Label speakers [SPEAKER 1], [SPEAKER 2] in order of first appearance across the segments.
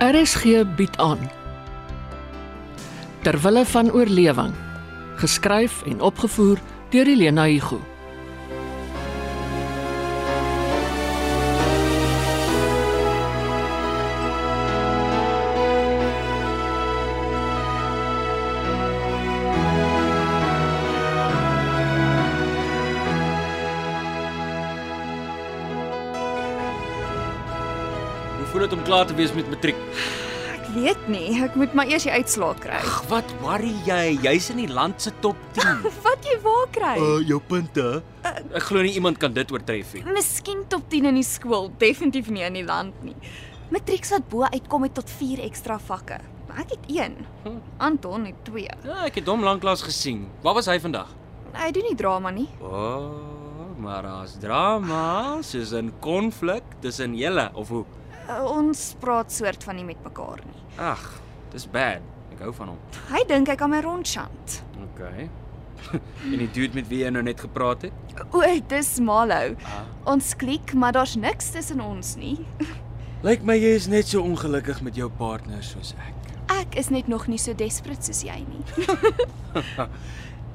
[SPEAKER 1] RSG bied aan Terwille van oorlewing geskryf en opgevoer deur Elena Igu
[SPEAKER 2] Hoe voel dit om klaar te wees met matriek?
[SPEAKER 3] Ek weet nie, ek moet maar eers die uitslae kry.
[SPEAKER 2] Ag, wat worry jy? Jy's in die land se top 10.
[SPEAKER 3] Wat jy waar kry?
[SPEAKER 2] Eh,
[SPEAKER 4] Eh, jou punte.
[SPEAKER 2] Ek glo nie iemand kan dit oortref nie.
[SPEAKER 3] Miskien top 10 in die skool, definitief nie in die land nie. Matrieks wat bo uitkom het tot 4 ekstra vakke. Maar ek het 1.
[SPEAKER 2] Hm.
[SPEAKER 3] Anton het 2.
[SPEAKER 2] Ja, ek het hom lanklaas gesien. Waar was hy vandag?
[SPEAKER 3] Hy doen nie drama nie.
[SPEAKER 2] O, oh, maar as drama, soos 'n konflik tussen julle of hoe?
[SPEAKER 3] Uh, Ons praat soort van nie met mekaar nie.
[SPEAKER 2] Ag, dis bad. Ek hou van hom.
[SPEAKER 3] Hy dink hy kan my rondchant.
[SPEAKER 2] OK. en die dude met wie jy nou net gepraat het?
[SPEAKER 3] O, dis Malo.
[SPEAKER 2] Ah.
[SPEAKER 3] Ons klik, maar daar's niks tussen ons nie.
[SPEAKER 2] Lyk my jy is net so ongelukkig met jou partner soos ek.
[SPEAKER 3] Ek is net nog nie so desperaat soos jy nie.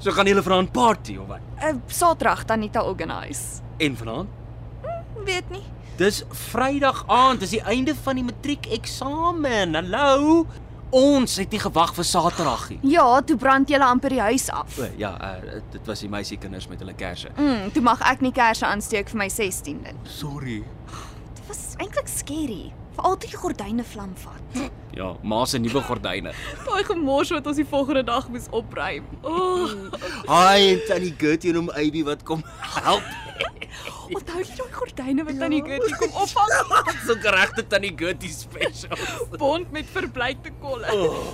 [SPEAKER 2] So gaan julle vanaand party of wat?
[SPEAKER 3] Uh, Saterdag dan Anita organise.
[SPEAKER 2] En vanaand?
[SPEAKER 3] Weet nie.
[SPEAKER 2] Dis Vrydag aand, dis die einde van die matriekeksamen. Hallo. Ons het nie gewag vir Saterdag nie.
[SPEAKER 3] Ja, toe brand jy amper die huis af.
[SPEAKER 2] O ja, uh, dit was die meisiekinders met hulle kersse.
[SPEAKER 3] Mm, toe mag ek nie kersse aansteek vir my 16de.
[SPEAKER 4] Sorry.
[SPEAKER 3] Dit was eintlik skerry, veral toe die gordyne vlam vat.
[SPEAKER 2] Ja, ma se nuwe gordyne.
[SPEAKER 3] Daai gemors wat ons die volgende dag moes opruim. Ooh,
[SPEAKER 2] Hi en tannie Gertie en hom Abby wat kom help.
[SPEAKER 3] onthou jy daai gordyne wat tannie Gertie kom opvang?
[SPEAKER 2] So regte tannie Gertie special.
[SPEAKER 3] Bond met verbleikte kolle.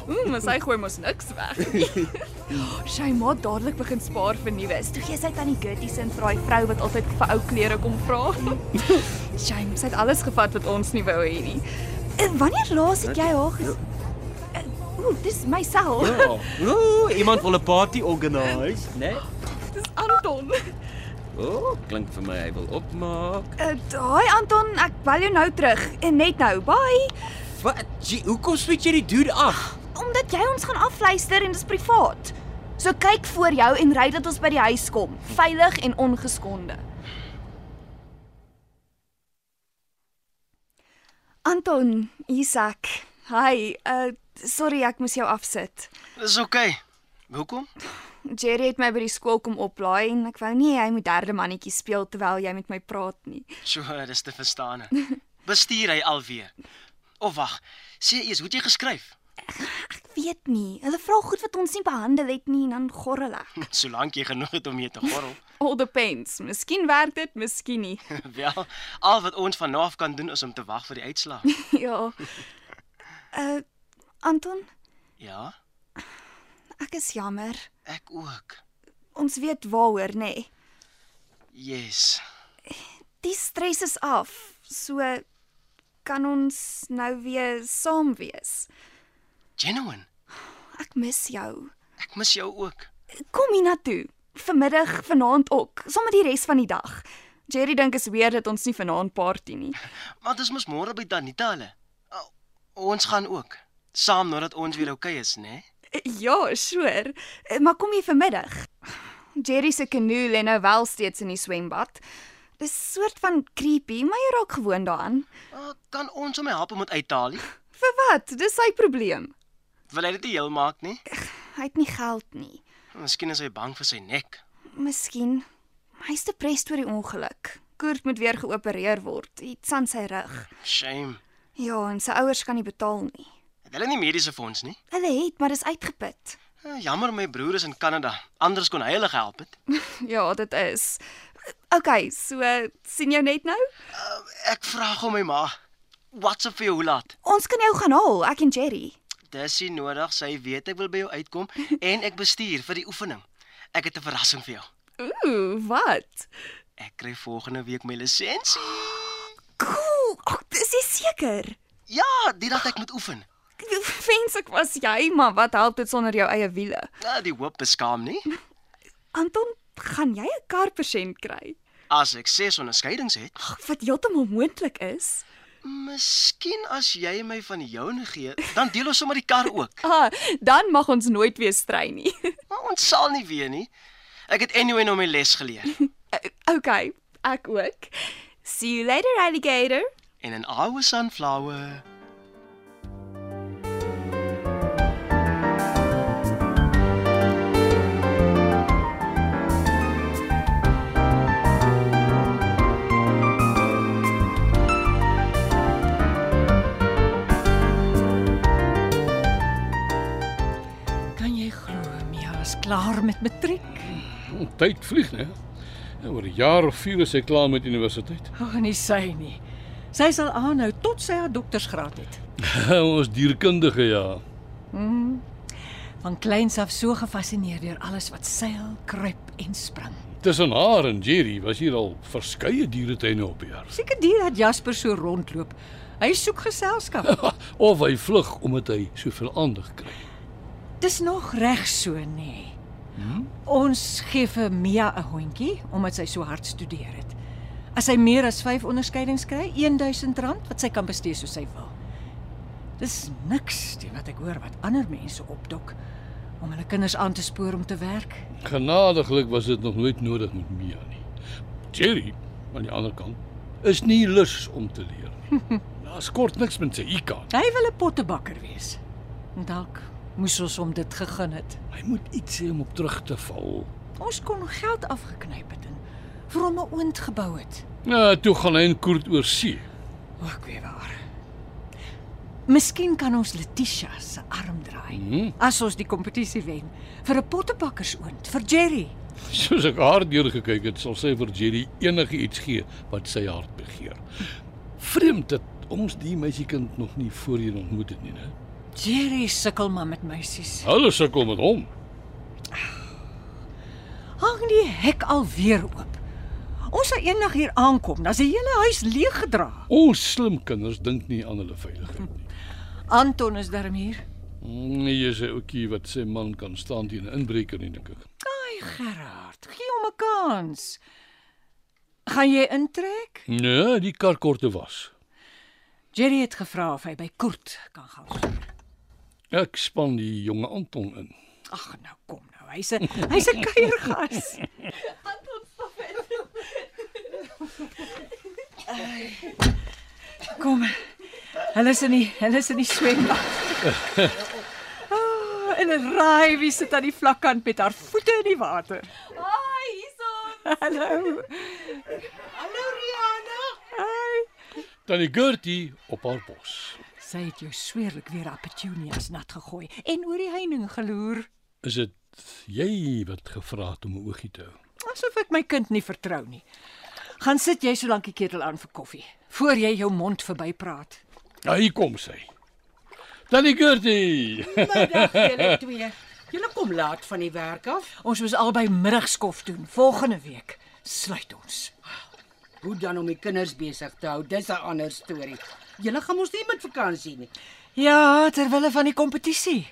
[SPEAKER 3] Mm, maar sy gooi mos niks weg. sy maat dadelik begin spaar vir nuus. Toe gee sy tannie Gertie se vir daai vrou wat altyd vir ou klere kom vra. sy sy het alles gevat wat ons nie wou hê nie. En wanneer laas het jy haar gesien? Ja. Ooh, dis myself.
[SPEAKER 2] Ja. Ooh, iemand wil 'n party organise, né? Nee?
[SPEAKER 3] Dis Anton.
[SPEAKER 2] Ooh, klink vir my hy wil opmaak.
[SPEAKER 3] Uh, Daai Anton, ek bel jou nou terug en net nou. Bye.
[SPEAKER 2] Wat? Gee, hoekom switch jy die dude af?
[SPEAKER 3] Omdat jy ons gaan afluister en dis privaat. So kyk voor jou en ry dat ons by die huis kom, veilig en ongeskonde. Anton, Isak. Hi. Uh sorry ek moes jou afsit.
[SPEAKER 5] Dis oukei. Okay. Hoekom?
[SPEAKER 3] Jerry het my by die skool kom oplaai en ek wou nie hy moet derde mannetjie speel terwyl jy met my praat nie.
[SPEAKER 5] So, dis te verstaan. Bestuur hy alweer. Of wag, sê eers hoe het jy geskryf?
[SPEAKER 3] Weet nie. Hulle vra goed wat ons nie behandel het nie en dan gorrel ek.
[SPEAKER 5] Solank jy genoeg het om mee te gorrel.
[SPEAKER 3] All depends. Miskien werk dit, miskien nie.
[SPEAKER 5] Wel, al wat ons van nou af kan doen is om te wag vir die uitslag.
[SPEAKER 3] ja. Uh Anton,
[SPEAKER 5] Ja,
[SPEAKER 3] ek is jammer.
[SPEAKER 5] ek ook.
[SPEAKER 3] Ons weet waaroor, nê. Nee.
[SPEAKER 5] Yes.
[SPEAKER 3] Die stres is af. So kan ons nou weer saam wees.
[SPEAKER 5] Genuine.
[SPEAKER 3] Ek mis jou.
[SPEAKER 5] Ek mis jou ook.
[SPEAKER 3] Kom hiernatoe. Vanmiddag, vanaand ook, sommer die res van die dag. Jerry dink is weer dat ons nie vanaand party nie.
[SPEAKER 5] Maar dis mos môre by Danita hulle. O, ons gaan ook. Saam nadat ons weer oukei okay is, né? Nee?
[SPEAKER 3] Ja, sure. Eh, Maar kom jy vanmiddag? Jerry se kanoe lê nou wel steeds in die swembad. Dis soort van creepy, maar jy raak gewoond daaraan.
[SPEAKER 5] Ah, Kan ons hom help om dit uit te haal? nie?
[SPEAKER 3] Vir wat? Dis sy probleem.
[SPEAKER 5] Wil hy dit nie heel maak nie?
[SPEAKER 3] Hy het nie geld nie.
[SPEAKER 5] Miskien is hy bang vir sy nek.
[SPEAKER 3] Miskien hy's depressed oor die ongeluk. Koert moet weer geopereer word, iets aan sy rug.
[SPEAKER 5] Shame.
[SPEAKER 3] Ja, en sy ouers kan nie betaal nie.
[SPEAKER 5] Het hulle nie mediese fonds nie?
[SPEAKER 3] Hulle het, maar dis uitgeput.
[SPEAKER 5] Eh, Jammer my broer is in Kanada. Anders kon hy hulle gehelp het.
[SPEAKER 3] Ja, dit is. OK, so sien jou net nou.
[SPEAKER 5] Ek vra gou my ma, "WhatsApp vir jou hoe laat?"
[SPEAKER 3] Ons kan jou gaan haal, ek en Jerry.
[SPEAKER 5] Dis nie nodig, sy weet ek wil by jou uitkom en ek bestuur vir die oefening. Ek het 'n verrassing vir jou.
[SPEAKER 3] Ooh, wat?
[SPEAKER 5] Ek kry volgende week my lisensie.
[SPEAKER 3] Cool. Ag, dis jy seker?
[SPEAKER 5] Ja, dit dat ek moet oefen.
[SPEAKER 3] Wens ek was jy, maar wat help dit sonder jou eie wiele?
[SPEAKER 5] Ja, die hoop beskaam nie.
[SPEAKER 3] Anton, gaan jy 'n kar persent kry?
[SPEAKER 5] As ek ses onderskeidings het,
[SPEAKER 3] Ag, wat heeltemal moontlik is.
[SPEAKER 5] Miskien as jy my van die joune gee, dan deel ons sommer die kar ook.
[SPEAKER 3] Ah, dan mag ons nooit weer strei nie.
[SPEAKER 5] Maar ons sal nie weer nie. Ek het anyway nou my les geleer.
[SPEAKER 3] okay, ek ook. See you later alligator.
[SPEAKER 5] En 'n Iowa sunflower.
[SPEAKER 6] Kan jy glo Mia is klaar met matriek?
[SPEAKER 7] Tyd vlieg, né? En Oor 'n jaar of 4 is hy klaar met universiteit.
[SPEAKER 6] Ag nee, sy nie. Sy sal aanhou Nou tot sy haar doktersgraad het.
[SPEAKER 7] ons dierkundige ja.
[SPEAKER 6] Van kleins af so gefassineer deur alles wat seil, kruip en spring.
[SPEAKER 7] Tussen haar en Jerry was hier al verskeie dieretuine op die aarde.
[SPEAKER 6] Seker die dat Jasper so rondloop. Hy soek geselskap.
[SPEAKER 7] Of hy vlug omdat hy soveel aandag kry.
[SPEAKER 6] Dis nog reg so nê. Hmm? Ons gee vir Mia 'n hondjie omdat sy so hard studeer het. As sy meer as 5 onderskeidings kry, R1000 wat sy kan bestee soos sy wil. Dis niks teen wat ek hoor wat ander mense opdok om hulle kinders aan te spoor om te werk.
[SPEAKER 7] Genadiglik was dit nog nooit nodig met Mia nie. Jerry aan die ander kant is nie lus om te leer nie. Daar's kort niks met sy IQ.
[SPEAKER 6] Hy wil 'n pottebakker wees. En Dalk moes ons hom dit gegee het.
[SPEAKER 7] Hy moet iets hê om op terug te val.
[SPEAKER 6] Ons kon geld afgeknyp het en vir hom 'n oond gebou het.
[SPEAKER 7] Ja, toe gaan hy in koerd oor see.
[SPEAKER 6] O, ek weet waar. Miskien kan ons Letitia se arm draai
[SPEAKER 7] Mhm.
[SPEAKER 6] as ons die kompetisie wen vir 'n pottebakkersoond vir Jerry.
[SPEAKER 7] Soos ek haar deurgekyk het, sal sy vir Jerry enige iets gee wat sy hart begeer. Vreemd dat ons die meisiekind nog nie voorheen ontmoet het nie, né?
[SPEAKER 6] Jerry sukkel maar met meisies.
[SPEAKER 7] Hulle sukkel met hom.
[SPEAKER 6] Hang die hek alweer oop. Ons sal eendag hier aankom, dan is die hele huis leeg gedra.
[SPEAKER 7] Ons slim kinders dink nie aan hulle veiligheid nie.
[SPEAKER 6] Anton is darm hier.
[SPEAKER 7] Nee, jy's 'n ouetjie wat sy man kan staan teen 'n inbreker nie, dink ek.
[SPEAKER 6] Ai Nee, Gerard, gee hom 'n kans. Gaan jy intrek?
[SPEAKER 7] Nee, die kar korte was.
[SPEAKER 6] Jerry het gevra of hy by Koert kan gaan.
[SPEAKER 7] Ek span die jonge Anton in.
[SPEAKER 6] Ag nou kom nou. Hy's 'n hy's 'n kuiergas. Kom. Hulle is in die hulle is in die swembad. Oh, en 'n raai wie sit aan die vlakkant met haar voete in die water.
[SPEAKER 3] Haai, hierson.
[SPEAKER 6] Hallo.
[SPEAKER 3] Hallo Rihanna.
[SPEAKER 6] Hi.
[SPEAKER 7] Tannie Gertie op haar pos.
[SPEAKER 6] Sy het jou sweerlik weer haar petunias nat gegooi en oor die heining geloer,
[SPEAKER 7] Is dit jy wat gevra het om 'n oogie te hou?
[SPEAKER 6] asof ek my kind nie vertrou nie. Gaan sit jy so lank die ketel aan vir koffie voor jy jou mond verbypraat.
[SPEAKER 7] Ja, hier kom sy. Tannie Gertie.
[SPEAKER 2] Middag julle twee. Julle kom laat van die werk af.
[SPEAKER 6] Ons moes albei middagskof doen volgende week. Sluit ons.
[SPEAKER 2] Hoe dan om die kinders besig te hou, dis 'n ander storie. Julle gaan mos nie met vakansie nie.
[SPEAKER 6] Ja, terwyl hulle van die kompetisie.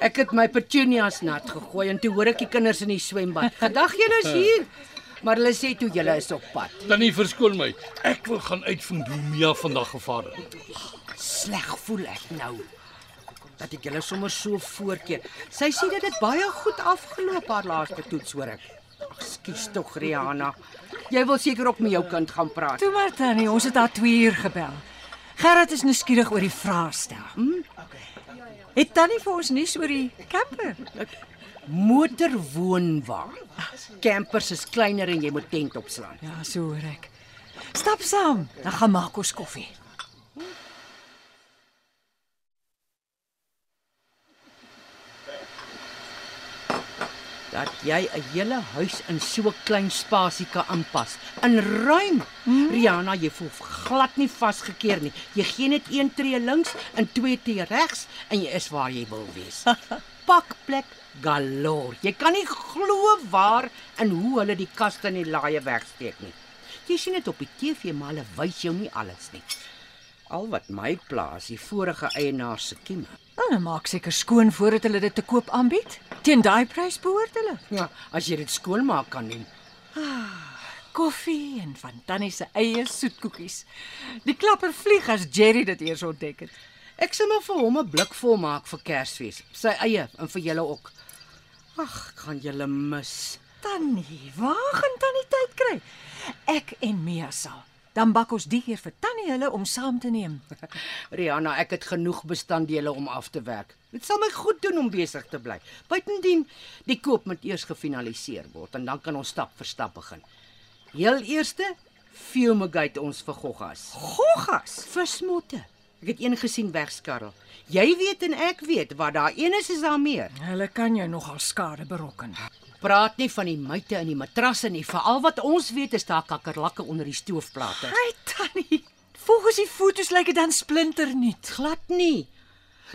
[SPEAKER 2] Ek het my petunias nat gegooi en toe hoor ek die kinders in die swembad. Gedag julle is hier. Maar hulle sê toe julle is op pad.
[SPEAKER 7] Tannie verskoon my. Ek wil gaan uitvind hoe Mia vandag gevaar het.
[SPEAKER 2] Sleg voel ek nou. Dat ek julle sommer so voorkeer. Sy sê dat dit baie goed afgeloop haar laaste toets hoor ek. Ag, skus tog Rihanna. Jy wil seker ook met jou kind gaan praat.
[SPEAKER 6] Toe maar tannie, ons het haar 2 uur gebel. Gerrit is nuuskierig oor die vraestel. Hm? Het tannie vir ons nuus oor die camper?
[SPEAKER 2] Motorwoonwa. Campers is kleiner en jy moet tent opslaan.
[SPEAKER 6] Ja, so hoor ek. Stap saam, dan gaan maak ons koffie.
[SPEAKER 2] Dat jy 'n hele huis in so 'n klein spasie kan aanpas. In ruim. Hmm? Rihanna, jy voel glad nie vasgekeer nie. Jy gee net een tree links en twee tree regs en jy is waar jy wil wees. Pakplek galore. Jy kan nie glo waar en hoe hulle die kaste en die laaie wegsteek nie. Jy sien dit op die TV, maar hulle wys jou nie alles nie. Al wat my plaas, die vorige eienaar se kieme.
[SPEAKER 6] Dan maak seker skoon voordat hulle dit te koop aanbied. Teen daai prys behoort hulle.
[SPEAKER 2] Ja, as jy dit skoonmaak kan doen.
[SPEAKER 6] koffie en van Tannie se eie soetkoekies. Die klapper vlieg as Jerry dit eers ontdek het.
[SPEAKER 2] Ek sê maar vir hom 'n blik vol maak vir Kersfees. Sy eie en vir julle ook. Ag, ek gaan julle mis.
[SPEAKER 6] Tannie, waar gaan Tannie tyd kry? Ek en Mia sal. Dan bak ons die keer vir Tannie hulle om saam te neem.
[SPEAKER 2] Rihanna, ek het genoeg bestanddele om af te werk. Dit sal my goed doen om besig te bly. Buitendien, die koop moet eers gefinaliseer word en dan kan ons stap vir stap begin. Heel eerste, fumigate ons vir goggas.
[SPEAKER 6] Goggas.
[SPEAKER 2] Vir smotte. Ek het een gesien wegskarrel. Jy weet en ek weet wat daar een is, is daar meer.
[SPEAKER 6] Hulle kan jou nogal skade berokken.
[SPEAKER 2] Praat nie van die muite in die matrasse nie, veral wat ons weet is daar kakkerlakke onder die stoofplate.
[SPEAKER 6] Ai Tannie, volgens die fotos lyk dit dan splinternuut.
[SPEAKER 2] Glad nie.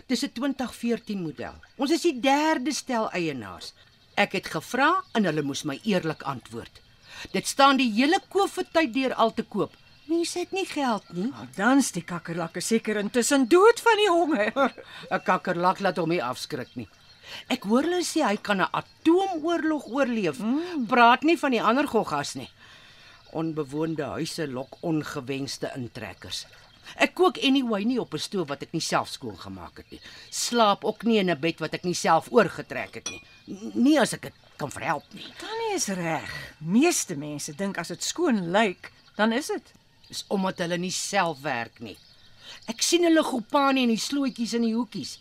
[SPEAKER 2] Dis 'n 2014 model. Ons is die derde stel eienaars. Ek het gevra en hulle moes my eerlik antwoord. Dit staan die hele koopvertyd deur al te koop. Mense het nie geld nie.
[SPEAKER 6] Nou dan's die kakkerlakke seker intussen dood van die honger.
[SPEAKER 2] 'n Kakkerlak laat hom nie afskrik nie. Ek hoor hulle sê hy kan 'n atoomoorlog oorleef. Mm. Praat nie van die ander goggas nie. Onbewoonde huise lok ongewenste intrekkers. Ek kook anyway nie op 'n stoof wat ek nie self skoon gemaak het nie. Slaap ook nie in 'n bed wat ek nie self oorgetrek het nie. N- Nie as ek dit kan verhelp nie.
[SPEAKER 6] Tannie is reg. Meeste mense dink as dit skoon lyk, dan is dit.
[SPEAKER 2] Dis omdat hulle nie self werk nie. Ek sien hulle gopani in die slootjies en die hoekies.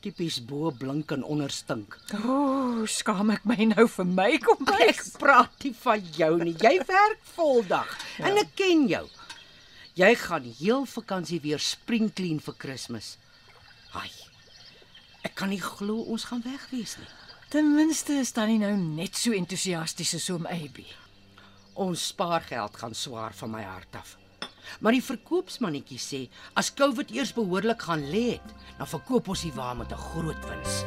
[SPEAKER 2] Tipies bo blink en onder stink.
[SPEAKER 6] O, oh, skaam ek my nou vir my kom by.
[SPEAKER 2] Ek praat nie van jou nie. Jy werk voldag ja. en ek ken jou. Jy gaan heel vakansie weer spring clean vir Kersfees. Haai. Ek kan nie glo ons gaan weg wees nie.
[SPEAKER 6] Ten minste is Tannie nou net so entoesiasties as om Abby.
[SPEAKER 2] Ons spaargeld gaan swaar van my hart af. Maar die verkoopsmannetjie sê as COVID eers behoorlik gaan lê het, dan verkoop ons die wa met 'n groot wins.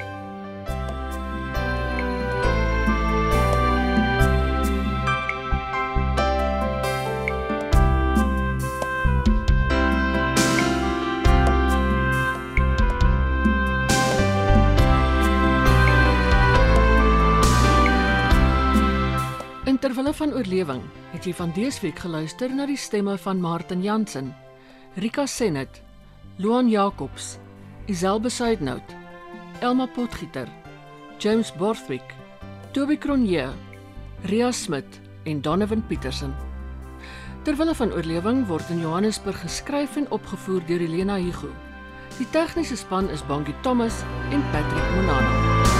[SPEAKER 1] In terwille van oorlewing het jy van deesweek geluister na die stemme van Martin Jansen, Rika Senet, Loan Jacobs, Isel Besuidnout, Elma Potgieter, James Borthwick, Toby Cronje, Ria Smit en Donovan Petersen. Terwille van oorlewing word in Johannesburg geskryf en opgevoer deur Elena Hugo. Die tegniese span is Bongie Thomas en Patrick Monano.